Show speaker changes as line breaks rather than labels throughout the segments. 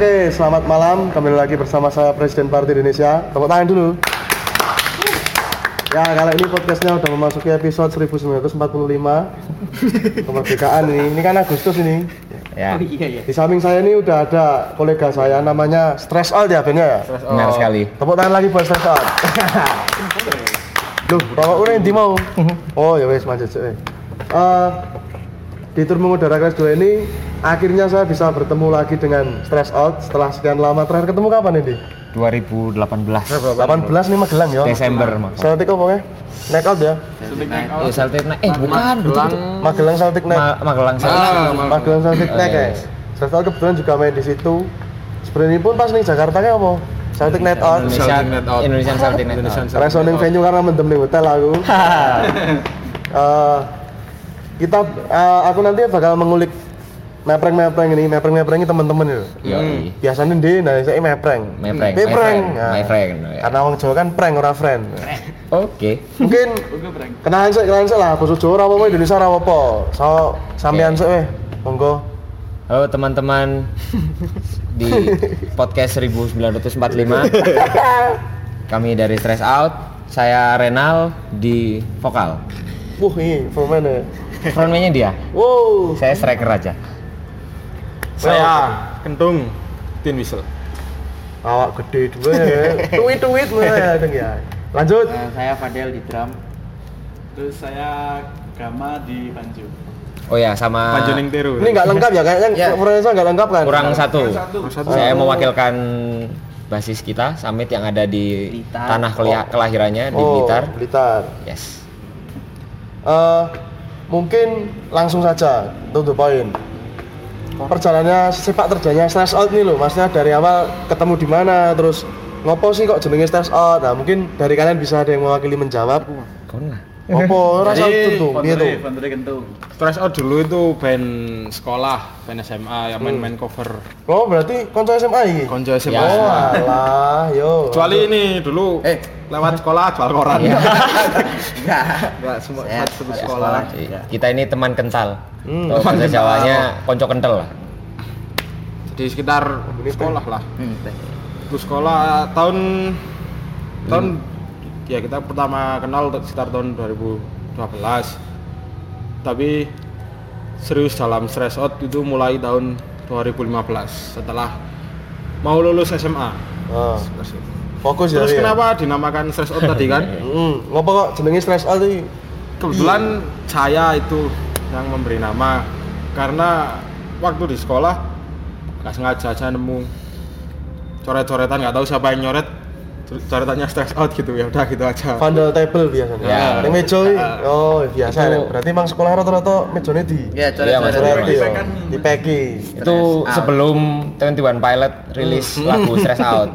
Ya, selamat malam. Kembali lagi bersama saya Presiden Partai Indonesia. Tepuk tangan dulu. Ya, kalau ini podcastnya udah memasuki episode 1945 kemerdekaan ini. Ini kan Agustus ini.
Ya,
Oh iya iya.
Di samping saya ini udah ada kolega saya namanya Stress Out ya bandnya ya.
benar sekali.
Tepuk tangan lagi buat Stress Out. Loh, bawa udah yang mau.
Mhm.
Oh ya wes macet sih. Eh, di tur mengudara kelas 2 ini akhirnya saya bisa bertemu lagi dengan Stress Out setelah sekian lama terakhir ketemu kapan ini?
2018
18 nih Magelang ya.
Desember, Mas.
Celtic apa ya? Neck out ya.
Eh, Celtic Night. Eh, bukan.
Gelang
Magelang Celtic Neck.
Ma- Iya, Magelang Celtic.
Ah, malam.
Magelang Celtic Neck
Oke.
ya. Saya tahu kebetulan juga main di situ. Sebenarnya pun pas nih Jakarta kayak apa? Celtic Night Out.
Indonesia
Celtic Night Out.
Indonesian Celtic Night.
Indonesian
Out.
Celtic
Resoning
Night Out.
venue karena mendem di hotel aku. Eh, kita eh, aku nanti bakal mengulik mepreng-mepreng ini, mepreng-mepreng ini teman-teman itu.
Hmm.
Yoi.
Biasanya di nah saya mepreng.
Iya. Mepreng,
Mepreng.
mepreng, mepreng, ya.
Karena orang Jawa kan prank ora friend.
Oke.
Mungkin kenalan sik, kenalan sik lah, basa Jawa ora apa-apa,
Iya.
Indonesia ora apa-apa. So, sampean sik weh. Monggo.
Halo teman-teman di podcast 1945. Kami dari Stress Out. Saya Renal di vokal.
Wuh, ini formen ya.
Frontman-nya dia.
Wow.
Saya striker aja.
Saya kentung Hmm. Tin Whistle.
Awak gede dua ya. Tuwit-tuwit mulai ya, Deng, ya. Lanjut.
Eh,
Nah,
saya Fadel di drum.
Terus saya Gama di Panju.
Oh ya, sama
Panjoning Teru.
Ini nggak lengkap ya kayaknya
Ya.
Frontman saya nggak lengkap kan?
kurang satu.
Satu.
Saya mewakilkan basis kita, Samit yang ada di
Blitar.
tanah kelia- kelahirannya di
Oh,
Blitar.
Blitar.
Yes.
Eh, mungkin langsung saja to the point. Perjalanannya sepak terjangnya stress out nih loh. Maksudnya dari awal ketemu di mana terus ngopo sih kok jenenge stress out. Nah, mungkin dari kalian bisa ada yang mewakili menjawab.
Kau lah.
Opo rasa tuh, gitu. piye
Fondre,
tuh?
Fondre Kentung.
Stress Out dulu itu band sekolah, band SMA yang main-main cover.
Oh, berarti konco SMA ini.
Konco SMA.
Ya.
Oh, alah, yo.
Kecuali ini dulu eh lewat sekolah jual koran. Enggak semua
Saya
satu
ada
sekolah.
Iya. Kita ini teman kental.
Hmm.
Kalau bahasa Jawanya konco kental lah.
Jadi sekitar sekolah lah.
Hmm, teh.
Terus sekolah tahun tahun ya kita pertama kenal sekitar tahun 2012. Tapi serius dalam stress out itu mulai tahun 2015 setelah mau lulus SMA.
Ah, fokus
Terus
ya. Ri, ya?
kenapa dinamakan stress out tadi kan?
Mm, ngopo kok jenenge stress out iki?
Kebetulan saya itu yang memberi nama karena waktu di sekolah nggak sengaja aja nemu coret-coretan nggak tahu siapa yang nyoret terus coretannya stress out gitu ya udah gitu aja.
Vandal table biasanya.
Ya.
Ning meja iki, oh biasa.
Itu-
ya. Berarti emang sekolah rata-rata mejane di
Ya,
Iya,
coret-coret.
Mas
Coret
Coret.
iki yo. di packing.
Itu
Out.
sebelum 21 Pilot rilis lagu Stress Out.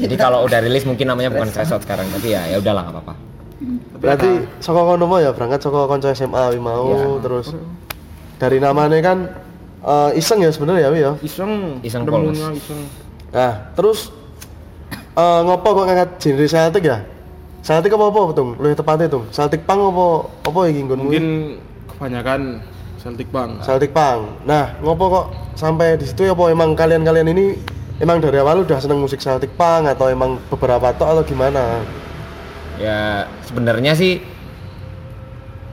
Jadi kalau udah rilis mungkin namanya bukan Stress Out sekarang, tapi ya ya udahlah nggak apa-apa.
Berarti saka kono mau ya berangkat saka kanca SMA wi mau terus dari namanya kan eh, iseng ya sebenarnya ya wi ya.
Iseng,
Iseng
nemunya
polos.
iseng.
Nah, terus eh, ngopo kok ngangkat genre Celtic ya? Celtic apa apa Tung? Lebih tepatnya Tung. Celtic Punk apa apa iki nggonmu?
Mungkin kebanyakan Celtic Bang.
Celtic Punk. Nah, ngopo kok sampai di situ ya apa emang kalian-kalian ini emang dari awal udah seneng musik Celtic Punk atau emang beberapa tok atau gimana?
Ya sebenarnya sih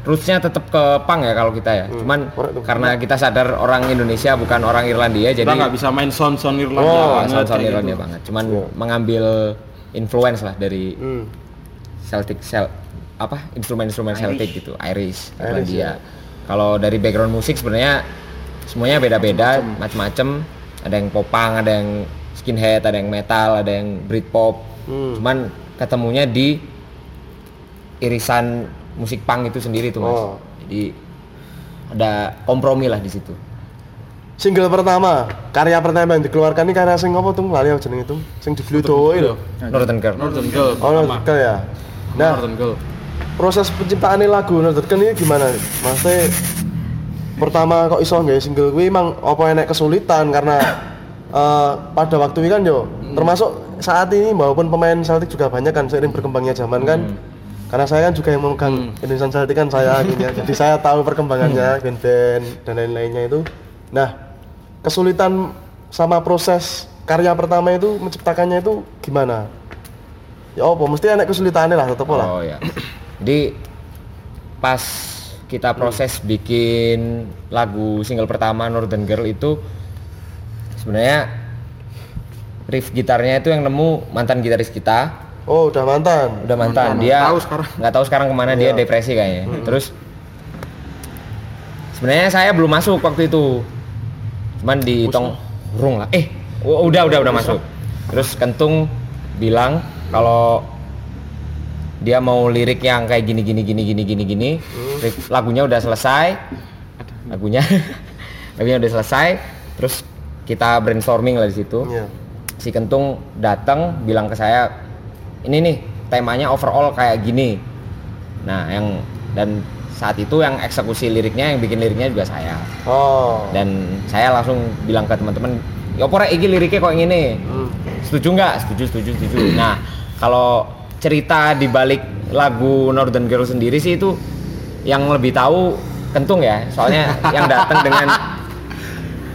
rootsnya tetap ke pang ya kalau kita ya. Cuman
correct tuh.
karena kita sadar orang Indonesia bukan orang Irlandia,
Kita
jadi
nggak bisa main sound-sound Irlandia
Oh,
banget,
sound
kayak
Irlandia
gitu.
banget. Cuman mengambil influence lah dari
Hmm.
Celtic Cel apa instrumen-instrumen Celtic gitu,
Irish,
Irish,
ya.
Irlandia. Kalau dari background musik sebenarnya semuanya beda-beda, macam-macam. Ada yang popang, ada yang skinhead, ada yang metal, ada yang Britpop.
Hmm.
Cuman ketemunya di irisan musik punk itu sendiri tuh, Mas.
Oh.
Jadi ada kompromi lah di situ.
Single pertama, karya pertama yang dikeluarkan ini karya sing apa tuh? Lali aku jeneng itu, sing di Fluto itu.
Northern Girl.
Northern Girl.
Oh,
pertama.
Northern Girl ya. Nah,
Northern Girl.
proses penciptaan lagu Northern Girl ini gimana? Maksudnya pertama kok iso nggak ya single gue emang apa enek kesulitan karena eh, pada waktu itu kan yo termasuk saat ini maupun pemain Celtic juga banyak kan seiring berkembangnya zaman kan karena saya kan juga yang memegang Indonesian Celtic kan saya akhirnya jadi saya tahu perkembangannya band-band dan lain-lainnya itu nah kesulitan sama proses karya pertama itu menciptakannya itu gimana? Ya apa, mesti enak kesulitannya lah tetep lah.
Oh ya. Jadi pas kita proses bikin lagu single pertama Northern Girl itu sebenarnya riff gitarnya itu yang nemu mantan gitaris kita
Oh, udah mantan.
udah mantan,
Mantan,
dia
nggak tahu sekarang.
nggak tahu sekarang kemana dia depresi kayaknya terus sebenarnya saya belum masuk waktu itu cuman di tong rung lah eh w- udah udah udah masuk terus kentung bilang kalau dia mau lirik yang kayak gini gini gini gini gini gini Riff- lagunya udah selesai lagunya lagunya udah selesai terus kita brainstorming lah di situ
Iya.
si Kentung datang bilang ke saya ini nih temanya overall kayak gini nah yang dan saat itu yang eksekusi liriknya yang bikin liriknya juga saya
Oh.
dan saya langsung bilang ke teman-teman ya apa Rek, iki liriknya kok ini
Hmm.
setuju nggak setuju setuju setuju nah kalau cerita di balik lagu Northern Girl sendiri sih itu yang lebih tahu kentung ya soalnya yang datang dengan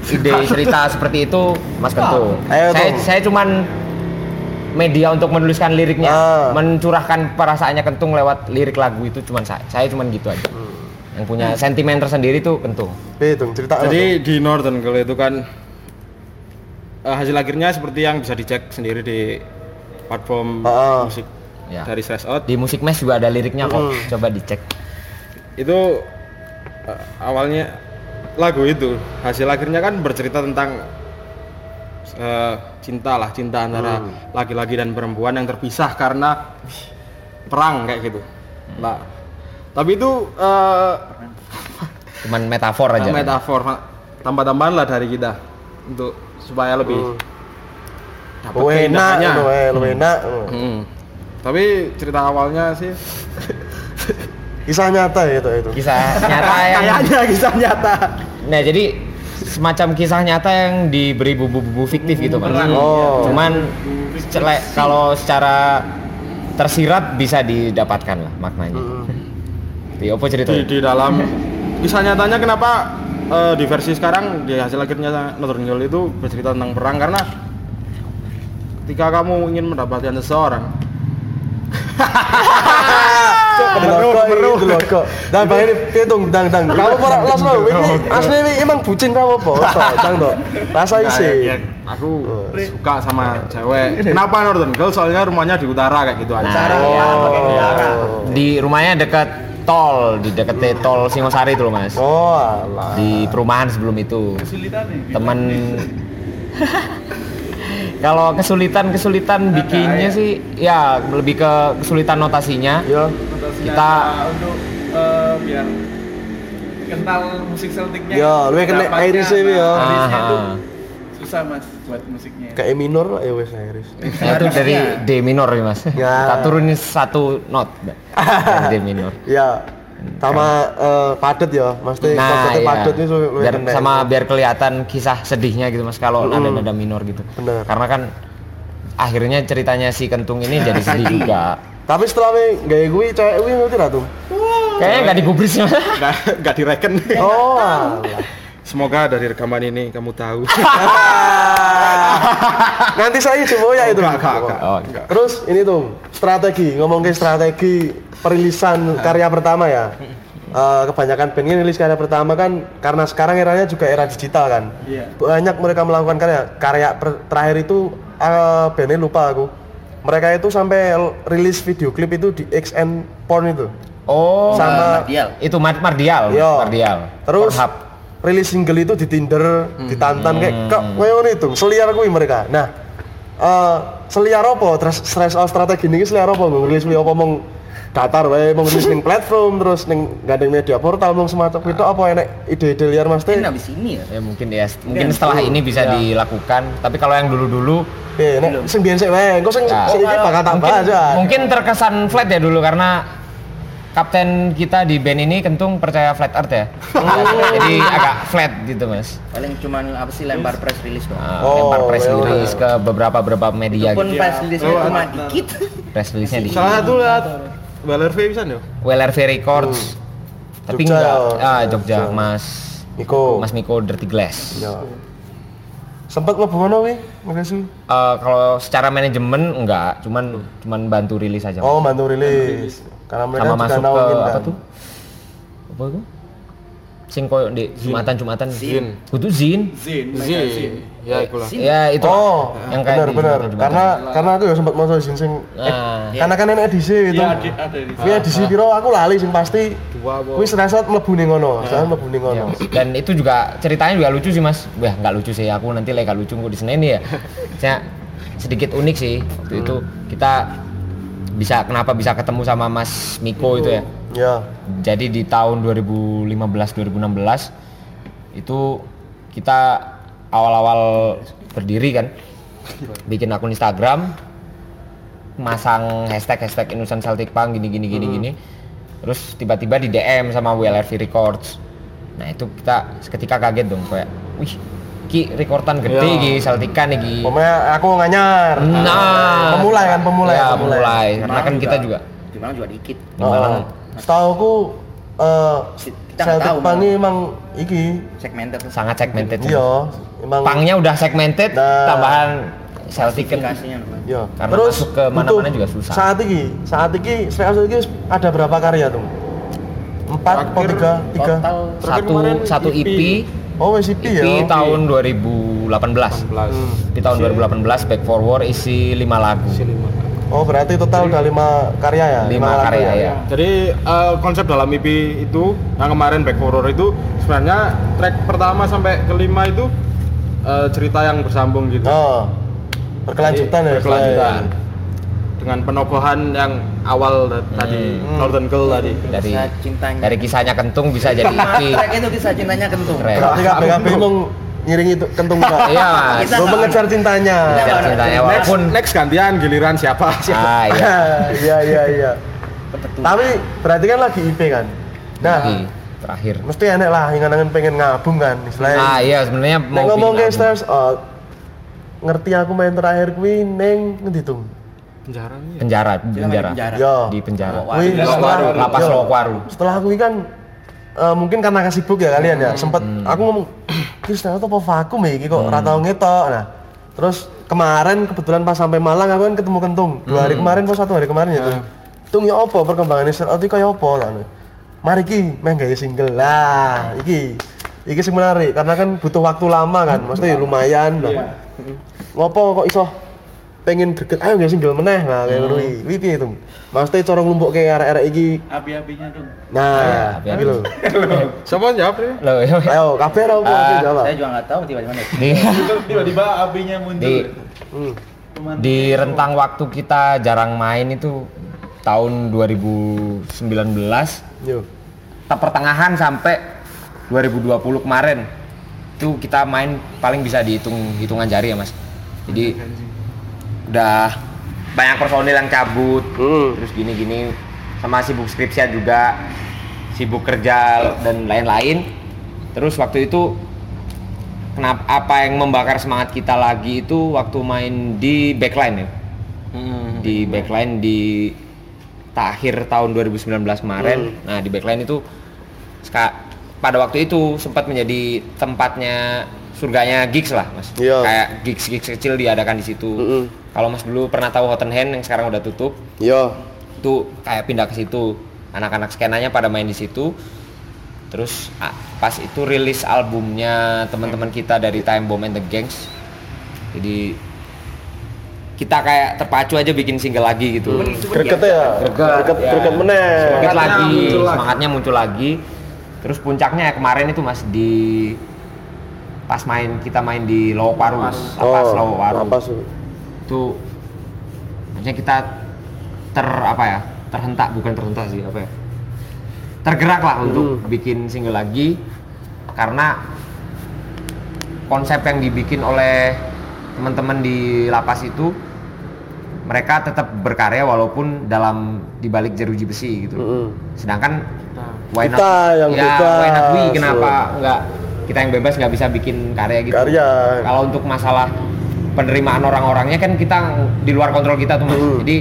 ide cerita seperti itu Mas Kentung
Ayo,
saya
Tung.
saya cuman media untuk menuliskan liriknya
Ah.
mencurahkan perasaannya kentung lewat lirik lagu itu cuman saya saya cuman gitu aja
Hmm.
yang punya sentimen tersendiri tuh kentung
Hitung cerita
Jadi di Northern Girl itu kan eh, hasil akhirnya seperti yang bisa dicek sendiri di platform
Ah, ah.
musik
Ya.
dari Stress Out.
di musik mes juga ada liriknya kok
Hmm.
coba dicek
Itu eh, awalnya lagu itu hasil akhirnya kan bercerita tentang eh, cinta lah, cinta antara
Hmm.
laki-laki dan perempuan yang terpisah karena perang kayak gitu. Nah, tapi itu eh,
cuman metafor
Ah,
aja
metafor Pak. tambah-tambahan lah dari kita untuk supaya lebih dapat
Oh, enak,
keindahannya.
oh, eh, lebih enak. oh.
Mm. tapi cerita awalnya sih
Kisah nyata ya itu itu.
kisah nyata yang
kayaknya kisah nyata
nah jadi semacam kisah nyata yang diberi bubu-bubu fiktif gitu kan
Oh.
cuman cele- kalau secara tersirat bisa didapatkan lah maknanya di apa cerita
di, di dalam kisah nyatanya kenapa eh, di versi sekarang di hasil akhirnya Northern Girl itu bercerita tentang perang karena ketika kamu ingin mendapatkan seseorang
Logo itu logo. Dan bang ini hitung dang dang. Kamu para las lo. Ini asli ini emang bucin kamu apa? Dang dong. Rasa
Nah,
isi.
ya, aku suka sama cewek kenapa Northern Girl soalnya rumahnya di utara kayak gitu aja
Nah.
Oh.
di rumahnya dekat tol di dekat tol Singosari itu loh mas
Oh, alah.
di perumahan sebelum itu
Kesulitan nih.
teman kalau kesulitan kesulitan bikinnya sih ya lebih ke kesulitan notasinya
Ya.
kita-
untuk eh, biar kental musik Celtic-nya.
Ya, lu yang kena
Dapatnya,
Irish ini ya.
Ah,
nah, Irishnya
Aha.
tuh susah Mas buat musiknya.
Kayak E minor lah ya wes Iris.
saya tuh dari D minor nih mas
Ya.
kita turunin satu not dari D minor
Ya. Sama eh, padet ya. Mesti
nah
konsepnya
ya.
padet itu lu
biar
yang kena.
sama biar kelihatan kisah sedihnya gitu mas kalau ada nada minor gitu
Bener.
karena kan akhirnya ceritanya si kentung ini jadi sedih juga
Tapi setelah we gaya gue cewek gue ngerti lah tuh.
kayaknya nggak digubris mas
nggak nggak direken
Oh, alah.
semoga dari rekaman ini kamu tahu
Nanti saya coba ya itu.
Enggak, enggak, enggak.
oh,
Terus ini tuh strategi ngomong ke strategi perilisan karya pertama ya. Eh, kebanyakan band ini rilis karya pertama kan karena sekarang eranya juga era digital kan.
Iya.
Banyak mereka melakukan karya karya per- terakhir itu eh, bandnya lupa aku. Mereka itu sampai l- rilis video klip itu di XN Porn itu.
oh
sama
Mardial.
itu Mar Mardial, Mas,
Yo.
Mardial.
Terus
Pornhub. Hmm.
rilis single itu di Tinder, ditantan kayak kok kowe ngono itu, seliar kuwi mereka. Nah, eh seliar apa? Terus stress out strategi ini seliar apa? Ngerilis beli apa mong datar wae mong rilis ning platform terus ning gandeng media portal mong semacam itu apa enek ide-ide liar Mas Teh?
Mungkin habis ini ya.
ya mungkin ya mungkin setelah ini bisa dilakukan tapi kalau yang dulu-dulu
Eh, nek sing biyen sik wae, engko sing
Ya.
sing iki bakal tak
mungkin,
bahas ya.
mungkin terkesan flat ya dulu karena kapten kita di band ini kentung percaya flat earth ya jadi agak flat gitu mas
Paling cuman apa sih lempar press release doang.
Nah,
Oh,
lempar press
iya, iya.
release ke beberapa beberapa media
Pun
gitu
press release-nya
Oh,
cuma
ada.
dikit.
ah. press release nya di
Nah,
salah satu lihat Baler V bisa nih
WLRV Records tapi
Hmm. Jogja.
enggak ah Jogja
Jogja.
mas
Niko.
mas Miko Dirty Glass
Ya. Sempat mlebu mana wi? Ngresu.
Eh, kalau secara manajemen enggak, cuman cuman bantu rilis aja.
Oh, bantu rilis. Karena mereka
Ya, sama
juga
masuk ke
naungin,
apa
kan.
tuh? Apa itu? Sing koyo di Jumatan-Jumatan.
Zin.
Kudu zin.
Zin,
Iya,
Mega Zin.
ya ikulah.
Zin.
Ya itu.
Oh,
yang kayak
benar
di
benar.
Jumatan-Jumatan.
Karena karena aku ya sempat mau sing sing
Nah, Ah,
karena kan enak edisi itu.
Iya, ada ada di
Kuwi edisi piro aku lali sing pasti.
Dua apa?
Kuwi seresot mlebu ning ngono, seresot mlebu ning
ya,
ngono.
Mas. dan itu juga ceritanya juga lucu sih mas wah nggak lucu sih aku nanti lagi nggak lucu aku di Senin ya saya sedikit unik sih waktu itu
Hmm.
kita bisa kenapa bisa ketemu sama Mas Miko itu ya
Ya.
jadi di tahun 2015 2016 itu kita awal-awal berdiri kan bikin akun Instagram masang hashtag hashtag Indonesia Celtic Punk gini gini
Hmm.
gini gini terus tiba-tiba di DM sama WLRV Records nah itu kita seketika kaget dong kayak wih ki rekordan gede
Ya.
ki Celtican nih ki
Pokoknya aku nganyar.
nah
Pemulai kan, pemulai,
ya,
pemulai.
pemulai. karena kan kita juga
di Malang juga dikit
Heeh. Setahu aku eh
Kita nggak
Celtic
tahu,
Punk
Mang.
ini emang iki
segmented
sangat segmented
iya emang
pangnya udah segmented
Nah.
tambahan Celtic kan
klasifikasinya namanya
Iya.
Karena masuk ke mana-mana
untuk
juga susah.
Saat ini, saat ini, saat ini ada berapa karya tuh? Empat, atau
Terakhir,
tiga, tiga.
total
Terakhir
satu
kemarin
satu
EP.
EP
Oh, wes EP
EP
ya. Hmm.
tahun 2018
18.
di tahun 2018 Back Forward isi 5 lagu
Isi lima.
Oh, berarti total udah lima karya ya?
5
lagu
karya ya
Jadi eh, konsep dalam EP itu yang kemarin Back Horror itu sebenarnya track pertama sampai kelima itu eh, cerita yang bersambung gitu.
Oh, berkelanjutan ya.
Jadi, berkelanjutan.
Eh.
Dengan penokohan yang awal da- tadi Northern Girl tadi.
dari
Kisah cintanya. Ah,
dari kisahnya Kentung bisa jadi EP
Track itu kisah cintanya kentung
Keren.
Berarti KPK bingung ngiringi itu kentung kita.
iya mas
Kita-
Belum mengejar cintanya.
Kisah cintanya
Next,
walaupun
next gantian giliran siapa siapa.
ah iya
Iya, iya, iya.
kebetulan
Tapi berarti kan lagi IP kan? Nah,
Di terakhir
mesti enak lah ingin pengen ngabung kan istilahnya.
ah iya sebenarnya
Nek
mau
ngomong ke
bikin album.
Stars Out, ngerti aku main terakhir kuwi neng ngendi Iya. tuh?
Penjara nih.
penjara di penjara
penjara.
Yo.
di penjara
Kuwi
Lapas
setelah-
Waru, Lapas
yo.
Lokwaru.
Setelah kuwi kan eh, mungkin karena kesibuk ya kalian
Hmm.
ya, sempet aku ngomong terus ternyata apa vakum ya iki kok ora tau ngetok. Nah, terus kemarin kebetulan pas sampai Malang aku kan ketemu Kentung. Dua
Hmm.
hari kemarin pas satu hari kemarin ya tuh. Tung ya apa perkembangan Stars Out iki kaya apa lah. nah. Mari ki main gawe single lah iki. Iki sing menarik karena kan butuh waktu lama kan, maksudnya lumayan lah. ngopo kok iso pengen greget ayo nggak single meneh nah
Hmm.
kayak ngono iki. Kuwi piye itu maksudnya cara nglumpukke arek-arek iki
Abi-abinya dong.
nah
Ya,
iki lho
Siapa siapa ya?
Loh, iya.
ayo kabeh ra opo
Ah,
jawab
saya juga nggak tahu tiba-tiba nih
di
Tiba-tiba abinya
di
muncul.
Hmm.
Teman
di rentang waktu kita jarang main itu tahun 2019
yo
ta- pertengahan sampai 2020 kemarin itu kita main paling bisa dihitung hitungan jari ya mas jadi udah banyak personil yang cabut terus gini-gini sama sibuk skripsian juga sibuk kerja dan lain-lain terus waktu itu kenapa apa yang membakar semangat kita lagi itu waktu main di backline ya di backline di akhir tahun 2019 kemarin. Nah, di backline itu ska- pada waktu itu sempat menjadi tempatnya surganya gigs lah, Mas.
Iya.
Kayak gigs-gigs kecil diadakan di situ.
Mm-mm.
Kalau Mas dulu pernah tahu Hot and Hand yang sekarang udah tutup,
yo
itu kayak pindah ke situ. Anak-anak skenanya pada main di situ. Terus a- pas itu rilis albumnya teman-teman kita dari Time Bomb and the Gangs. Jadi kita kayak terpacu aja bikin single lagi gitu.
greget ya
Greget,
greget
ya.
greget meneh
Semangat
Mm. Semangatnya
lagi,
muncul lagi.
semangatnya muncul lagi. Terus puncaknya ya kemarin itu Mas di pas main kita main di Lowaru,
Oh,
Oh,
Lapas Lowaru.
apa sih
Itu maksudnya kita ter apa ya? Terhentak bukan terhentak sih, apa ya? Tergerak lah untuk
Hmm.
bikin single lagi karena konsep yang dibikin oleh teman-teman di lapas itu mereka tetap berkarya walaupun dalam dibalik jeruji besi gitu.
Mm-mm.
Sedangkan
Hmm. Kita yang
ya,
bebas,
why not we? kenapa
loh.
nggak kita yang bebas nggak bisa bikin karya gitu?
Karya.
Kalau untuk masalah penerimaan orang-orangnya kan kita di luar kontrol kita tuh mas.
Mm.
Jadi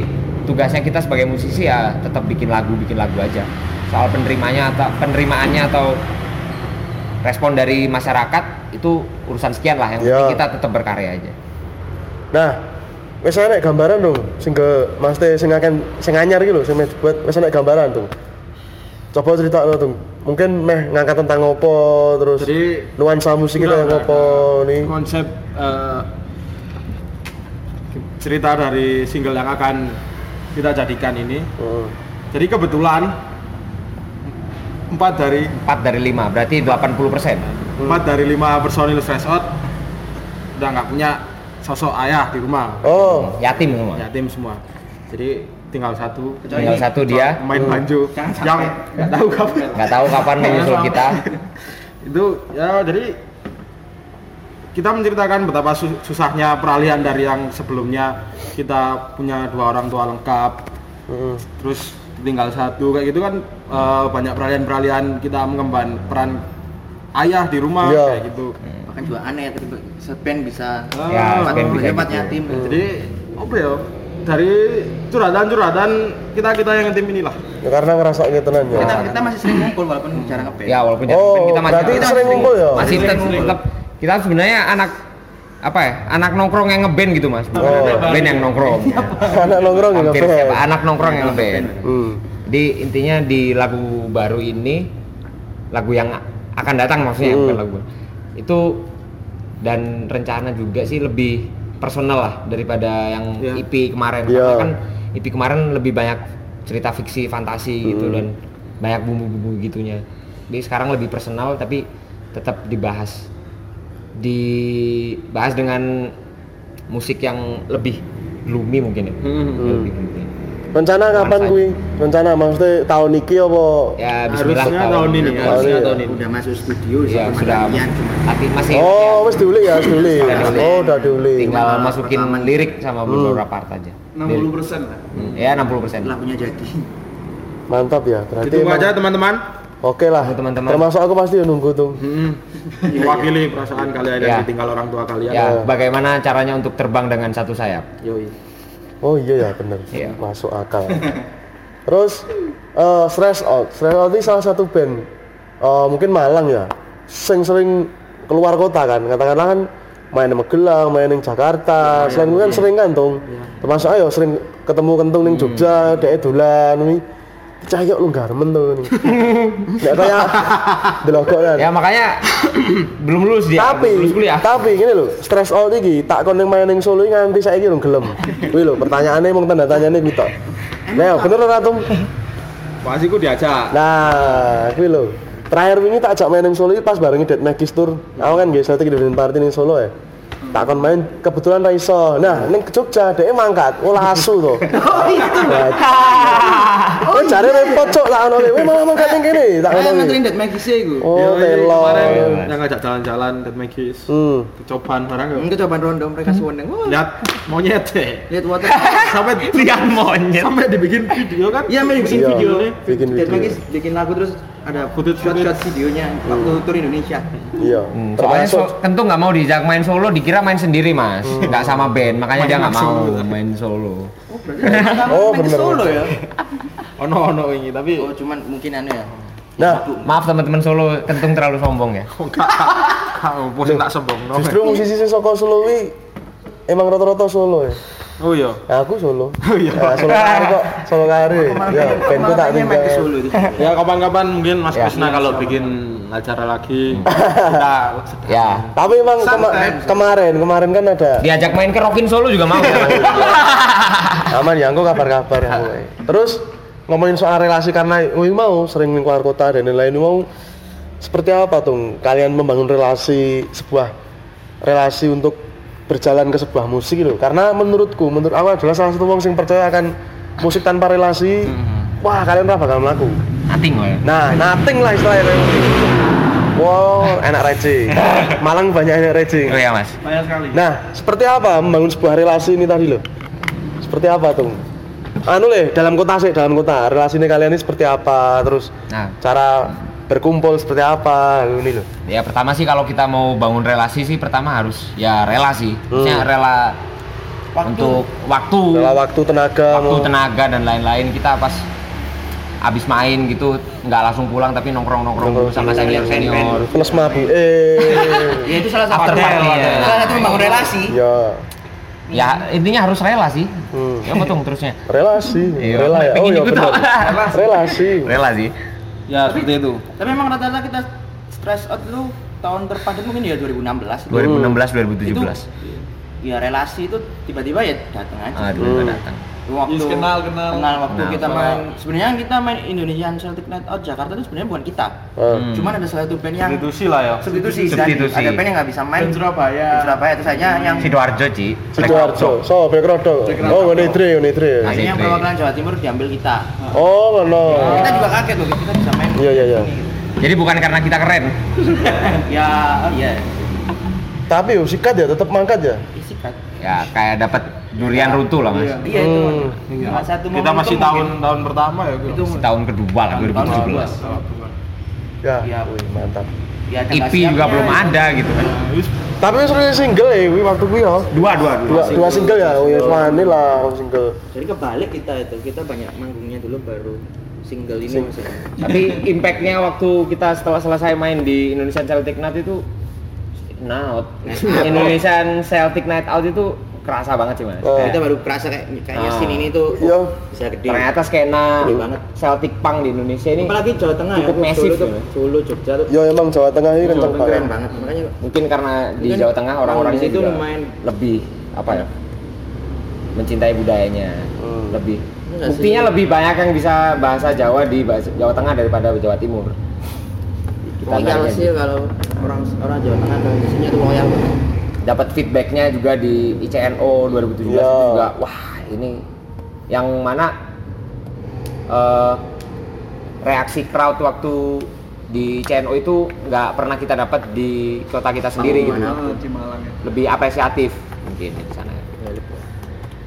tugasnya kita sebagai musisi ya tetap bikin lagu bikin lagu aja. Soal penerimanya atau penerimaannya atau respon dari masyarakat itu urusan sekian lah yang
Iya.
penting kita tetap berkarya aja
Nah, wes enek gambaran dong sing ke Mas Teh sing akan sing anyar iki lho sing mes- buat wes enek gambaran tuh. Coba cerita lo tuh. Mungkin meh ngangkat tentang opo terus
Jadi-
nuansa musik
Udah,
kita yang
udah,
opo
udah.
nih.
Konsep eh, cerita dari single yang akan kita jadikan ini.
Heeh.
Jadi kebetulan empat dari
4 dari 5 berarti 80 persen
empat dari lima personil stress out udah nggak punya sosok ayah di rumah.
Oh,
yatim semua
Yatim semua. Jadi tinggal satu
Kecuali
tinggal
ini.
satu dia Hmm.
main banjo
Jangan sampai.
yang nggak tahu kapan
nggak tahu kapan menyusul kita
itu ya jadi kita menceritakan betapa su- susahnya peralihan dari yang sebelumnya kita punya dua orang tua lengkap
heeh.
terus tinggal satu kayak gitu kan eh, banyak peralihan-peralihan kita mengemban peran ayah di rumah
Iya.
kayak gitu
Bahkan juga aneh tiba sepen bisa
Ah,
Ya,
empat
sepen bisa
empat
gitu.
yatim.
jadi apa ya dari curhatan-curhatan kita kita yang tim inilah
ya karena ngerasa gitu tenan ya.
Kita kita masih sering ngumpul walaupun jarang ngepen.
ya walaupun
Oh,
jarang, kita masih
berarti sering ngumpul ya?
masih
Sering,
tetap
sering.
tetap- kita sebenarnya anak apa ya anak nongkrong yang ngeband gitu mas
Oh.
band yang nongkrong
Anak nongkrong ya
hampir
ngeband.
siapa anak Iya, nongkrong yang ngeband
Hmm.
di intinya di lagu baru ini lagu yang akan datang maksudnya
Hmm.
bukan lagu baru. itu dan rencana juga sih lebih personal lah daripada yang
Iya.
IP kemarin
Iya.
Karena kan IP kemarin lebih banyak cerita fiksi fantasi gitu
Hmm.
dan banyak bumbu-bumbu gitunya jadi sekarang lebih personal tapi tetap dibahas dibahas dengan musik yang lebih gloomy mungkin ya
Hmm,
lebih gloomy.
Rencana kapan
Nuansa.
kuwi? Rencana maksudnya tahun iki apa?
ya bismillah
harusnya
kalau-
tahun ini ya.
Tahun
harusnya
ini.
tahun ini
Iya, Udah masuk studio
Iya,
sama
sudah
kalian, cuma
tapi masih
Oh, wis diulik ya, wis diulik.
Udah diulik.
Oh, udah
iya.
diulik.
tinggal
Nah,
Cuma
masukin
rekaman.
lirik sama
Hmm.
beberapa part aja.
60 persen lah.
Hmm, Ya 60 persen.
lagunya jadi.
Mantap ya. Berarti
ditunggu
emang-
aja teman-teman
Oke lah.
Tunggu, teman-teman.
Termasuk aku pasti nunggu tuh. Iya.
mewakili perasaan kalian
Iya.
yang ditinggal orang tua kalian
Ya bagaimana caranya untuk terbang dengan satu sayap?
Yoi.
Oh iya ya bener,
Iya.
masuk akal. Terus eh, stress out, stress out ini salah satu band eh, mungkin Malang ya, sing sering keluar kota kan, katakanlah kan main di Magelang, main di Jakarta, selain itu kan sering kan Tung. termasuk ayo sering ketemu kentung ning Jogja, dek dolan ini cahyo lu garmen tuh ini, nggak kayak delok kok kan.
Ya makanya belum lulus dia.
tapi
belum Iya, lulus kuliah.
tapi gini lho stress out iki tak kon ning main ning Solo iki nganti saiki lho gelem kuwi lho pertanyaane mung tanda tanyane kuwi tok nah bener ora tum
Pasti ku diajak.
nah kuwi lho terakhir wingi tak ajak main ning Solo iki pas bareng Dead Magis Tour aku kan guys nanti kita party ning Solo ya tak kon main kebetulan ra iso nah ning Jogja dhek mangkat olah asu to oh jare repot cok tak ono kowe mau mangkat ning kene tak
Kan
ono
ya.
nganterin Dead Magis iku.
Iya,
oh
Yoi,
telo
kemarin yang ngajak jalan-jalan dan Magis.
hmm
Kecobaan barang ya.
Ini cobaan rondo mereka
Hmm?
suweneng. Wah,
Lihat monyet ya.
Lihat water.
Sampai
Lihat monyet.
sampai dibikin video kan?
Iya, Mel, bikin
Iya,
video nih.
bikin
Dead
video.
Magis bikin lagu terus ada
Footage,
shot-shot videonya waktu
Hmm.
tur Indonesia.
iya
Hmm, soalnya
termasuk Hmm.
so- Kentung nggak mau diajak main solo, dikira main sendiri mas, nggak sama band, makanya dia nggak mau main solo.
Oh, berarti
Oh,
main di
bener.
Solo ya.
Ono ono ini tapi
Oh, cuman mungkin anu ya.
nah
Maaf teman-teman solo, Kentung terlalu sombong ya.
kok gak kau pun tak sombong. no.
Justru musisi sing saka Solo kuwi emang rata-rata Solo ya.
Oh iya.
Ya, aku Solo.
Oh iya.
Ya, Solo kari kok, Solo kari. Ya, bandku tak
Kemarin kan main di
tinggal.
Solo itu.
Ya kapan-kapan mungkin Mas
Ya.
Krisna kalau bikin acara lagi
Hmm.
kita
Ya,
Tapi emang kema- kemarin, kemarin kan ada
diajak main ke Rockin Solo juga mau.
aman ya, aku kabar-kabar ya. aku. Terus ngomongin soal relasi karena wih mau sering keluar kota dan lain-lain mau seperti apa tuh kalian membangun relasi sebuah relasi untuk berjalan ke sebuah musik loh karena menurutku menurut aku adalah salah satu wong sing percaya akan musik tanpa relasi wah kalian ora bakal melaku
Nanti nggak ya?
Nah, nothing lah istilahnya. Wow, enak rece. Malang banyak enak rece.
Oh iya mas.
Banyak sekali.
Nah, seperti apa membangun sebuah relasi ini tadi loh? Seperti apa tuh? Anu leh, dalam kota sih, dalam kota. Relasi ini kalian ini seperti apa? Terus
Nah,
cara berkumpul seperti apa? Ini loh.
Ya pertama sih kalau kita mau bangun relasi sih pertama harus ya rela sih. Maksudnya
Hmm.
rela untuk waktu,
Dalam waktu tenaga
waktu
mau-
tenaga dan lain-lain kita pas abis main gitu nggak langsung pulang tapi nongkrong nongkrong sama senior senior
Oh, iya. plus mabuk eh
ya itu salah satu
After party, ya.
salah satu membangun relasi
ya
ya intinya harus rela sih
Hmm.
ya betul terusnya
relasi
Iya,
rela ya oh
pengen
ya
ikut
benar
apa?
relasi
rela sih
ya seperti itu
tapi emang rata-rata kita stress out dulu tahun terpadat mungkin ya 2016 itu.
2016 2017
ya relasi itu tiba-tiba ya datang aja
aduh
Hmm.
nggak Ah, datang
waktu
Yes, kenal, kenal.
kenal waktu
Kenal.
kita main sebenarnya kita main Indonesian Celtic Night Out Jakarta itu sebenarnya bukan kita
Ah.
Hmm.
cuman ada salah satu band yang
Substitusi lah ya.
substitusi,
Substitusi.
dan ada band yang nggak bisa main
Band Surabaya.
Band Surabaya itu saja yang
sidoarjo ci
Sidoarjo, so Bekrodo. Oh, ngene Idri, ngene Idri.
Asik.
akhirnya perwakilan Jawa Timur diambil kita
Oh, ngono.
Iya.
kita juga kaget loh kita bisa main gitu.
Iya, iya, iya.
jadi bukan karena kita keren
ya oh iya
Tapi yo sikat ya, tetap mangkat ya.
isi kan
ya kayak dapat durian runtuh lah mas
Iya.
iya itu
Hmm.
Cuma satu
kita
momentum
masih
mungkin.
tahun tahun pertama ya gitu.
Itu-
tahun kedua lah 2017
Tahun pertama.
Ya.
Iya.
Wih, mantap.
ya, ada
IP
nggak
E juga
siapnya.
belum ada gitu kan
Tapi wis rilis single ya kuwi waktu kuwi ya.
dua dua
Dua dua single ya, oh ya wani lah wong single.
jadi kebalik kita itu kita banyak manggungnya dulu baru single ini
Sing-
maksudnya
tapi impactnya waktu kita setelah selesai main di Indonesian Celtic Night itu Night Indonesian Celtic Night Out itu kerasa banget sih mas
Oh.
Kayak
kita baru kerasa kayak
Eh.
kayaknya
Ah.
scene ini tuh
Iya.
bisa gede
ternyata skena
Gede banget.
Celtic Punk di Indonesia ini
apalagi Jawa Tengah
cukup
ya Solo
masif
tuh,
ya.
Solo Jogja tuh
Ya emang Jawa Tengah ini kenceng
keren,
banget.
banget makanya
mungkin karena di
Mungkin
Jawa Tengah orang-orang
orang di situ
itu
lumayan-
lebih apa ya mencintai budayanya
Hmm.
lebih
Enggak sih.
buktinya lebih banyak yang bisa bahasa Jawa di bahasa- Jawa Tengah daripada Jawa Timur Kita
loyal
nanya
sih
gitu.
kalau orang orang Jawa Tengah ke sini tuh loyal banget
dapat feedbacknya juga di ICNO 2017 itu
Iya.
juga wah ini yang mana eh, reaksi crowd waktu di ICNO itu nggak pernah kita dapat di kota kita sendiri gitu
mana?
di Malang ya.
lebih apresiatif mungkin di sana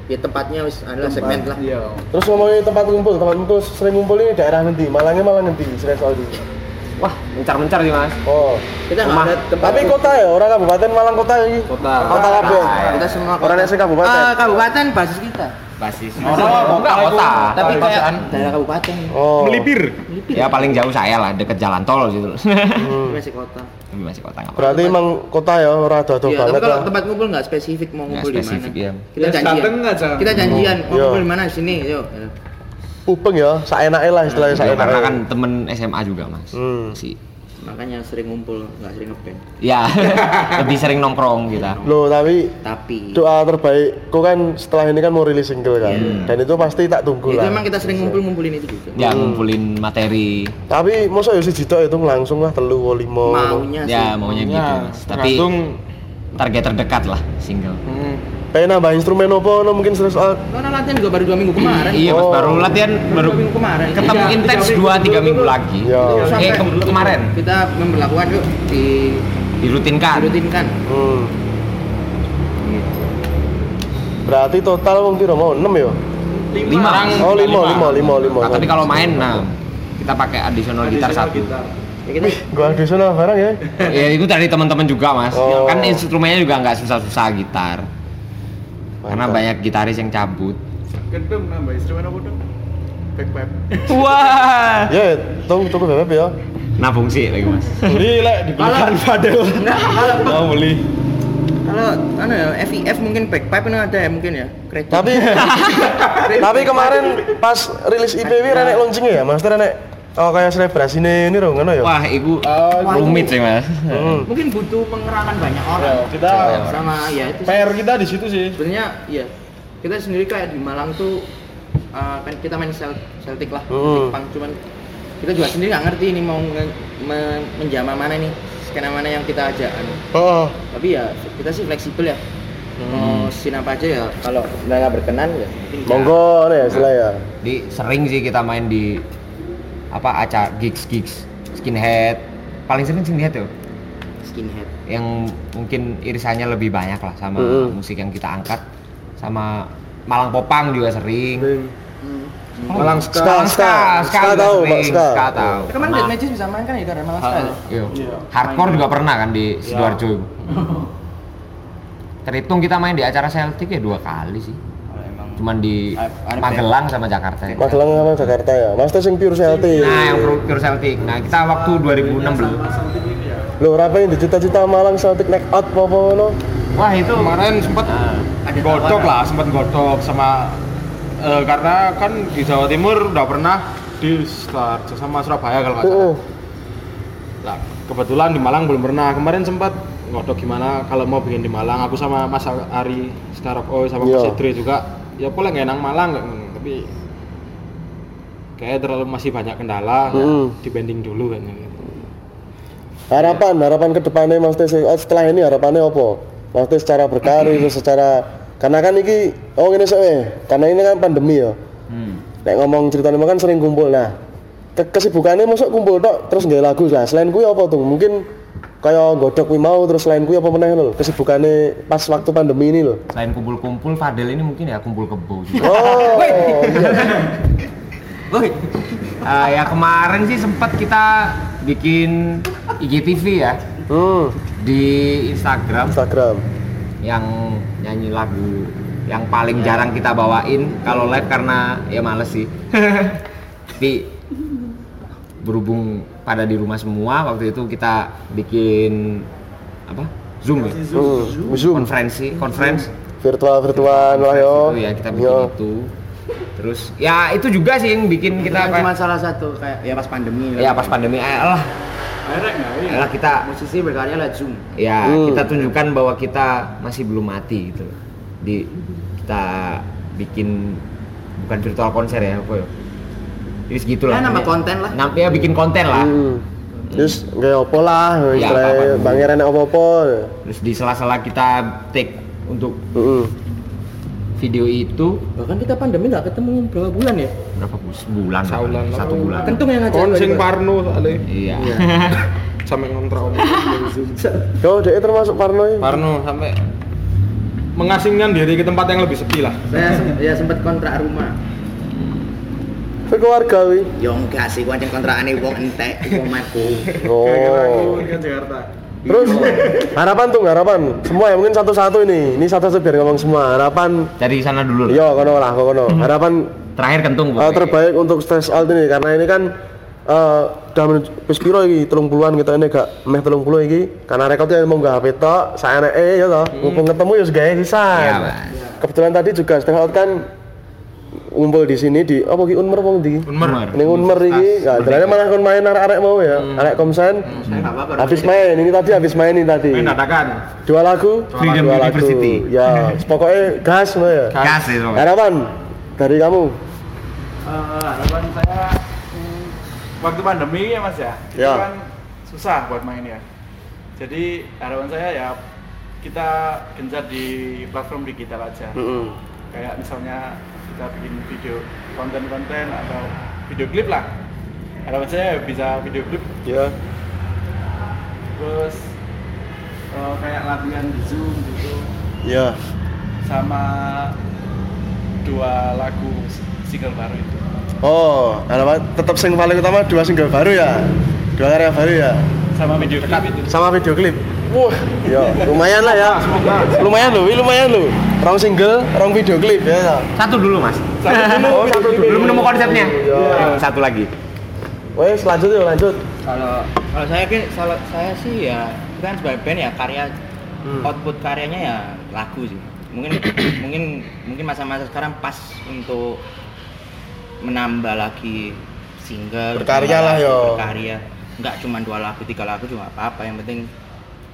ya tempatnya wis adalah segmen lah
Iya.
Terus ngomongin tempat ngumpul, tempat ngumpul sering ngumpul ini daerah nanti, Malangnya malah nanti, sering soal ini.
wah mencar-mencar sih mas
Oh.
kita nggak
Rumah.
ada tempat Ah,
Tapi kota ya, orang kabupaten Malang kota ini.
Kota.
Kota kabeh.
kita semua
Orang yang sing kabupaten.
Ah, kabupaten basis kita
basis
Oh,
enggak kota
tapi
Kabupaten.
kayak daerah kabupaten
Hmm.
Oh.
ya paling jauh saya lah deket jalan tol gitu
Hmm.
masih kota
tapi masih kota nggak apa-apa.
Berarti emang kota ya, ora ada
Iya, tapi
banget ya.
kalau
lah.
tempat ngumpul nggak spesifik mau
Nggak
ngumpul di mana.
spesifik, iya. Hmm.
Kita
Ya,
janjian.
dateng aja.
Kita janjian mau
Iya.
ngumpul di mana sini, yuk.
Upeng ya, saenake lah istilahnya
Ya,
saenake.
karena kan temen SMA juga mas
Hmm.
si
Makanya sering ngumpul, nggak sering ngeband.
ya lebih sering nongkrong gitu. kita
Loh, tapi
Tapi
doa terbaik ku kan setelah ini kan mau rilis single kan. Dan itu pasti tak tunggu
Iya. ya, itu
lah.
emang kita sering ngumpul-ngumpulin itu juga.
Iya. ya ngumpulin materi
Tapi masa ya siji tok itu langsung lah telu wo limo.
Maunya Iya sih.
ya maunya gitu
Ya,
mas tapi
tergantung
target terdekat lah single
hmm,
Pengen nambah instrumen opo no mungkin serius ah. out.
Karena latihan juga baru dua minggu kemarin.
iya mas
Oh.
baru latihan baru
Baru minggu kemarin.
ketemu
Tiga-
intens
tiga
2-3 minggu lagi
Ya.
Terus
Oke,
Iya. sampai
ke- Iya, kemarin
Kita memperlakukan yuk di
dirutinkan
dirutinkan.
Hmm. Berarti total wong piro mau 6 ya?
Lima.
Oh, lima, lima, lima, lima.
Nah, tapi kalau main nah kita pakai additional gitar satu
Ya, kita
Gua additional barang ya.
ya itu dari teman-teman juga mas
Oh.
kan instrumennya juga nggak susah-susah gitar karena
Mantap.
banyak gitaris yang cabut
Gendong nambah instrumen apa dong? Backpipe.
wah
Ya, tunggu tunggu bebek ya.
nabung sih lagi mas
Beli lek dibelikan padel. Mau beli.
kalau anu ya, FIF mungkin backpipe ini ada ya mungkin ya. Kredit.
Tapi tapi kemarin pas rilis IPW renek launchingnya ya, Mas renek oh kayak selebrasi nih ini dong ngono ya.
wah itu rumit sih mas
Hmm.
mungkin butuh pengerangan banyak
Ya,
orang.
kita
sama ya itu sih.
PR kita di situ sih.
sebenarnya ya kita sendiri kayak di Malang tuh uh, kan kita main Cel- Celtic lah
Hmm.
Celtic Punk cuman kita juga sendiri nggak ngerti ini mau nge- me- menjama mana nih skena mana yang kita ajak anu.
Oh,
tapi ya kita sih fleksibel ya mau
Hmm.
scene apa aja ya kalau nggak berkenan ya mungkin nggak.
monggo nih ya istilah ya.
di sering sih kita main di apa acara gigs gigs skinhead paling sering skinhead tuh
skinhead
yang mungkin irisannya lebih banyak lah sama
Mm-mm.
musik yang kita angkat sama Malang Popang juga sering
Malang Ska, Ska, Ska
juga
tahu,
sering,
Pak, Ska.
Ska tahu.
kemarin
Ma-
Dead Magis bisa main kan ya karena malah sekali
Iya. Hardcore juga pernah kan di
Iya.
Sidoarjo. Terhitung kita main di acara Celtic ya dua kali sih.
kalau emang
cuman di
Arep-
Magelang sama Jakarta ya.
Magelang sama Jakarta ya. Mas teh sing pure selti.
nah yang pro- pure Celtic nah kita waktu 2016
Lho, ora pengen dicita-cita Malang Celtic neck out apa ngono.
wah itu
Nah, kemarin sempat
Ada
godok
tawaran.
lah sempat godok sama eh, karena kan di Jawa Timur udah pernah di start sama Surabaya kalau nggak
Hmm.
salah.
Heeh.
Nah, kebetulan di Malang belum pernah. Kemarin sempat ngodok gimana kalau mau bikin di Malang. Aku sama Mas Ari Starokoi sama Mas
Iya.
Idri juga. Ya boleh nggak enang Malang nggak ngono. tapi kayak terlalu masih banyak
Mm.
kendala. Ya, dibanding dulu kan. gitu.
Harapan, harapan ke depannya Mas Teh sing out setelah ini harapannya apa? Mas Teh secara berkarir secara karena kan iki oh ngene sok eh. Karena ini kan pandemi ya.
Hmm,
Nek ngomong cerita lima kan sering kumpul nah. Ke kesibukannya masuk kumpul tok terus nggak lagu lah. Selain kuwi apa tuh? Mungkin kayak godok kuwi mau terus selain kuwi apa meneh lho. Kesibukannya pas waktu pandemi ini lho.
selain kumpul-kumpul Fadel ini mungkin ya kumpul kebo juga
Oh. iya.
Woi. Ah, ya kemarin sih sempat kita bikin IGTV ya
Hmm,
di Instagram
Instagram.
yang nyanyi lagu yang paling jarang kita bawain kalau live karena ya males sih. Tapi berhubung pada di rumah semua waktu itu kita bikin apa? Zoom ya?
Hmm, Zoom.
Konferensi, conference
virtual virtual lah yo.
itu ya kita bikin itu. Terus ya itu juga sih yang bikin
Kita
kita
cuma
apa?
salah satu kayak ya pas pandemi.
Ya pas pandemi eh, lah
Akhirnya nggak
Iya.
ya?
Yalah kita
Musisi berkarya lewat Zoom.
ya
Hmm.
kita tunjukkan bahwa kita masih belum mati gitu. Di kita bikin bukan virtual konser ya, apa ya? Jadi segitulah.
Ya, nambah
Jadi,
konten lah.
nam- ya bikin konten lah. Iya,
Hmm. Terus nggak apa lah, istilahnya
apa-apa.
pangeran apa-apa.
Terus di sela-sela kita take untuk
Heeh.
video itu
Bahkan kan kita pandemi nggak ketemu berapa bulan ya?
berapa bu- sebulan? apa?
Sebulan lah.
Satu bulan.
Kentung yang
Oh,
ngajak.
Kon
gua
sing
juga.
Parno soalnya
Iya.
sampai ngontrak om.
Yo, dia termasuk Parno ya.
Parno sampai mengasingkan diri ke tempat yang lebih sepi lah.
Saya sem- ya sempat kontrak rumah.
Tapi keluarga wi.
Yo Ya enggak sih, gua anjing kontrakannya wong entek, wong mati.
Oh.
Ke Jakarta.
Terus harapan tuh harapan. Semua ya mungkin satu-satu ini. Ini satu-satu biar ngomong semua. Harapan
Dari sana dulu. lah.
yo kono lah kono. Harapan
Terakhir kentung
eh, terbaik untuk stress out ini karena ini kan eh udah menuju wis piro iki 30-an kita ini gak meh 30 iki karena rekodnya mau gak HP tok saya eh ya toh mumpung ketemu ya segae sisan
Iya, Mas.
kebetulan tadi juga setengah out kan ngumpul di sini di apa ki unmer apa ndi
Unmer.
ning unmer iki ya jalannya malah kon main arek-arek mau ya arek komsen
Saya nggak apa-apa.
habis main ini tadi habis main ini tadi
Main dadakan.
dua lagu
Freedom
dua lagu
University.
ya pokoknya gas no ya
Gas ya, soalnya.
harapan dari kamu
Eh, harapan saya hmm, waktu pandemi ya mas ya, itu
Ya.
kan susah buat main ya. Jadi harapan saya ya kita gencar di platform digital aja.
Mm-mm.
Kayak misalnya kita bikin video konten-konten atau video klip lah. Harapan saya ya bisa video klip
ya
terus eh, kayak latihan di Zoom gitu
ya
sama dua lagu single baru itu.
Oh, harapan tetap sing paling utama dua single baru ya. Dua karya baru ya.
Sama video klip itu.
Sama video klip. Wah, ya lumayan lah ya. Lumayan loh, wi, lumayan loh. Rong single, rong video klip ya. ya.
Satu dulu, Mas.
Oh, satu dulu.
Belum nemu konsepnya. Hmm,
Iya.
Satu lagi.
Wes, lanjut yuk, lanjut.
Kalau kalau saya ki- kalau saya sih ya kita kan sebagai band ya karya
Hmm.
output karyanya ya lagu sih. Mungkin mungkin mungkin masa-masa sekarang pas untuk menambah lagi single
Berkarya
menambah
lah,
lagi
yo.
berkarya nggak cuma dua lagu tiga lagu juga nggak apa-apa yang penting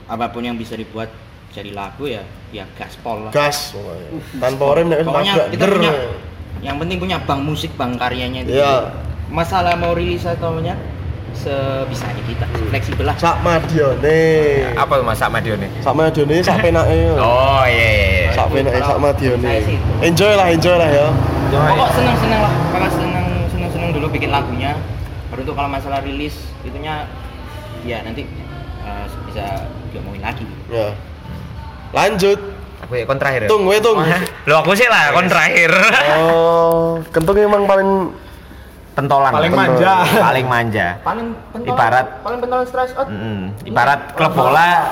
apapun yang bisa dibuat jadi lagu ya ya gaspol lah
Gas. pokoknya. Tanpa rem nek wis
pokoknya
nabrak,
kita
der.
punya yang penting punya bank musik bank karyanya itu
Iya.
masalah mau rilis atau punya sebisanya kita
Hmm.
fleksibel lah
Sak Madione.
Apa tuh Mas Sak Madione?
Sak Madione sak penake.
Oh iya iya. iya.
Sak penake sak Madione.
Saya sih.
Enjoy lah, enjoy lah ya.
pokok seneng seneng lah kalau seneng seneng seneng dulu bikin lagunya baru tuh kalau masalah rilis itunya ya nanti eh, bisa diomongin lagi
Ya. Lanjut.
Aku ya kon terakhir. ya?
Tung, we tung.
Lo aku sih lah kon terakhir.
Oh, kentung emang Oh, paling
pentolan
Paling
Pentol.
manja.
paling manja
paling pentolan
Ibarat.
paling pentolan stress out
Mm-mm. ibarat klub bola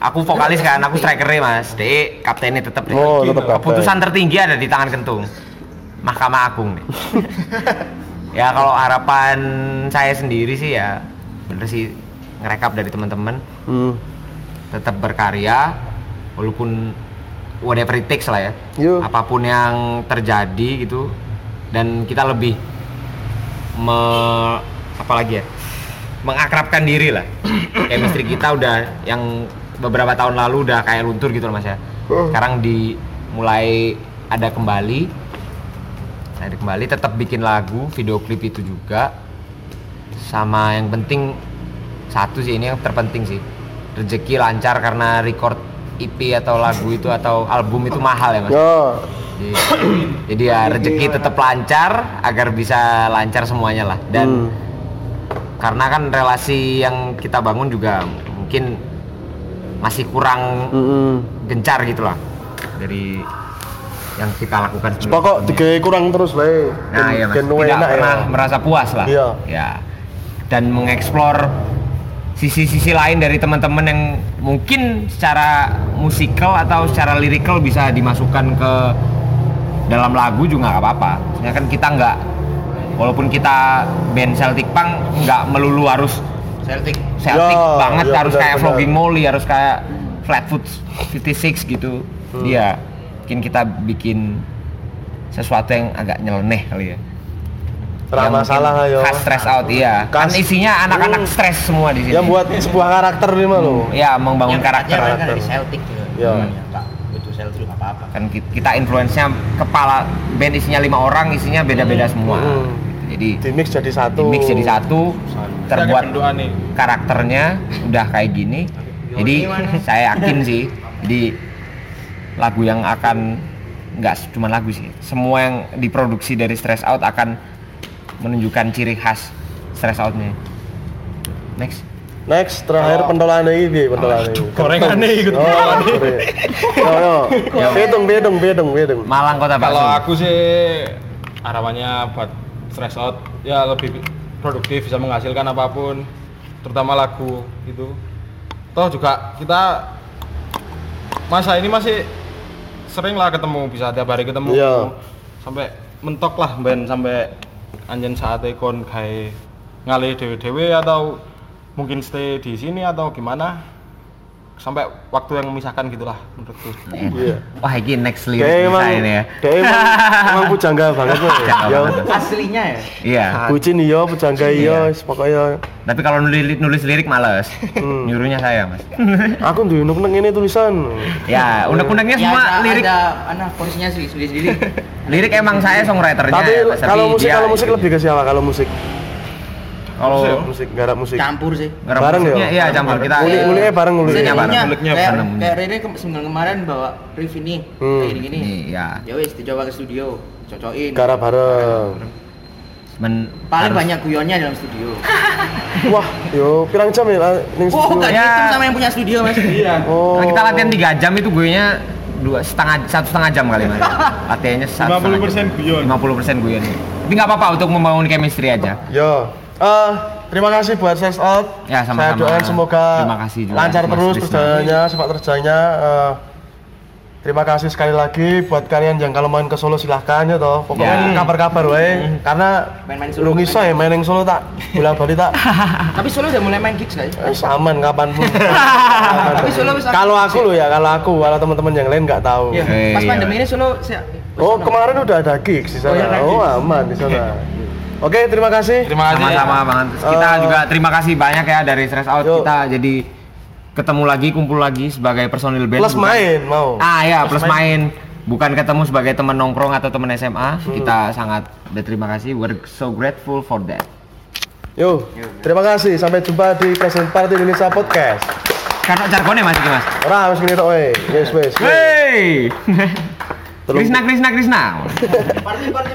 aku vokalis kan aku strikernya mas dek kaptennya tetap
Oh, tetep kapten.
Gitu. keputusan tertinggi ada di tangan kentung mahkamah agung nih ya kalau harapan saya sendiri sih ya bener sih ngerekap dari teman-teman
Hmm.
tetap berkarya walaupun whatever it takes lah ya
Yo.
apapun yang terjadi gitu dan kita lebih me apa lagi ya mengakrabkan diri lah chemistry kita udah yang beberapa tahun lalu udah kayak luntur gitu loh mas ya sekarang di mulai ada kembali ada kembali tetap bikin lagu video klip itu juga sama yang penting satu sih ini yang terpenting sih rezeki lancar karena record EP atau lagu itu atau album itu mahal ya mas
Ya,
jadi, jadi ya rezeki tetap lancar agar bisa lancar semuanya lah
Hmm.
dan karena kan relasi yang kita bangun juga mungkin masih kurang
Mm-mm.
gencar gitu lah dari yang kita lakukan sebelum-
Pokok digawe kurang terus wae. Ben-
nah iya mas
ben
tidak
wae enak ya.
pernah merasa puas lah
Iya.
ya dan mengeksplor sisi-sisi lain dari teman-teman yang mungkin secara musikal atau secara lirikal bisa dimasukkan ke dalam lagu juga nggak apa-apa Soalnya kan kita nggak walaupun kita band Celtic Punk nggak melulu harus
Celtic
Celtic
Ya,
banget
ya,
harus
benar,
kayak
benar.
Flogging Molly harus kayak Flatfoot 56 gitu
Hmm.
iya mungkin kita bikin sesuatu yang agak nyeleneh kali ya
Ra
Yang
masalah
mungkin
ayo.
khas stress out iya kan
Khas-
isinya anak-anak
Hmm.
stres semua di sini
Yang buat sebuah karakter nih mah lo.
ya membangun
Yang
karakter
katanya kan
karakter.
dari Celtic gitu
Iya.
Hmm, ya, Pak, butuh Celtic nggak apa-apa
kan ki- kita influence-nya kepala band isinya lima orang isinya beda-beda semua
Hmm.
jadi
Di mix jadi
di
satu.
mix jadi satu terbuat
pendoa nih.
karakternya udah kayak gini jadi saya yakin sih jadi lagu yang akan nggak cuma lagu sih semua yang diproduksi dari stress out akan menunjukkan ciri khas stress outnya next
Next terakhir
Oh.
pentolane iki piye pentolane.
Gorengane ikut.
Oh, sore. Yo yo.
Yo.
Bedung bedung bedung bedung.
Malang Kota Bakso
Kalau aku sih harapannya buat stress out ya lebih produktif bisa menghasilkan apapun terutama lagu gitu. Toh juga kita masa ini masih sering lah ketemu bisa tiap hari ketemu
Iya.
sampai mentok lah ben sampai anjen saatnya kon gawe ngalih dewe-dewe atau mungkin stay di sini atau gimana sampai waktu yang memisahkan gitulah menurutku.
Iya.
wah ini next
Dia
lirik
emang
kita ini ya
dia emang emang pujangga banget kok. Yo.
aslinya ya
iya
Bucin iya, pujangga iya, wis pokoknya
tapi kalau nulis, nulis lirik males nyuruhnya saya mas
aku duwe nuk-nuk ngene tulisan.
ya unek-uneknya semua
ada,
lirik
ada anak porsinya sendiri sendiri sendiri
lirik emang saya songwriternya
Tapi
Mas,
kalau musik
dia
kalau musik
itunya.
lebih ke siapa kalau musik?
kalau
Musik garap musik.
campur sih
ngarep
Bareng ya?
musiknya, iya campur kita
Ngulik- nguliknya bareng, ya? nguliknya.
Musiknya bareng
Jadinya
nguliknya
kayak,
bareng.
kayak Rene ke, single kemarin bawa riff ini
Hmm.
kayak gini
Ini, ya
ya wis dicoba ke studio cocokin
Garap bareng.
Men-
paling
harus-
banyak guyonnya dalam studio
Wah, yo pirang jam ya lah, ning
oh
studio?
gak
Ya.
dihitung sama yang punya studio mas iya
Oh.
Nah, kita latihan 3 jam itu gue nya dua setengah satu setengah jam kali mas latihannya satu
50% guyon.
lima puluh persen guyon tapi nggak apa-apa untuk membangun chemistry aja
Yo. Eh, terima kasih buat Sense Out.
Ya,
Saya
sama-sama.
doakan semoga
Terima kasih juga,
lancar
Mas
terus
Krisna.
perjalanannya, sepak terjangnya. Eh, terima kasih sekali lagi buat kalian yang kalau main ke Solo silahkan ya toh. Pokoknya
Ya.
kabar-kabar wae karena
Main-main Solo,
lu ngiso ya main yang Solo tak bolak balik tak
tapi Solo udah mulai main gigs lah ya
eh, saman kapanpun.
Tapi
Kapanpun.
Solo bisa-
kalau aku lo ya, kalau aku, kalau teman-teman yang lain nggak tahu.
Iya.
Eh,
pas
iya.
pandemi ini Solo saya
Oh, kemarin udah ada gigs di sana.
Oh, iya, ada
Oh,
gigs.
aman di sana. Oke, terima kasih.
Terima kasih.
sama-sama banget kita
Eh,
juga terima kasih banyak ya dari stress out
Yuk.
kita jadi ketemu lagi kumpul lagi sebagai personil band
Plus
bukan-
main mau.
ah ya plus, main. bukan ketemu sebagai teman nongkrong atau teman SMA kita sangat berterima kasih we're so grateful for that
Yo, terima kasih. Sampai jumpa di Present Party Indonesia Podcast.
karena jargonnya mas iki mas
Ora wis ngene tok wae. Wis wis.
Wey!
Telung-
Krisna Krisna Krisna
party party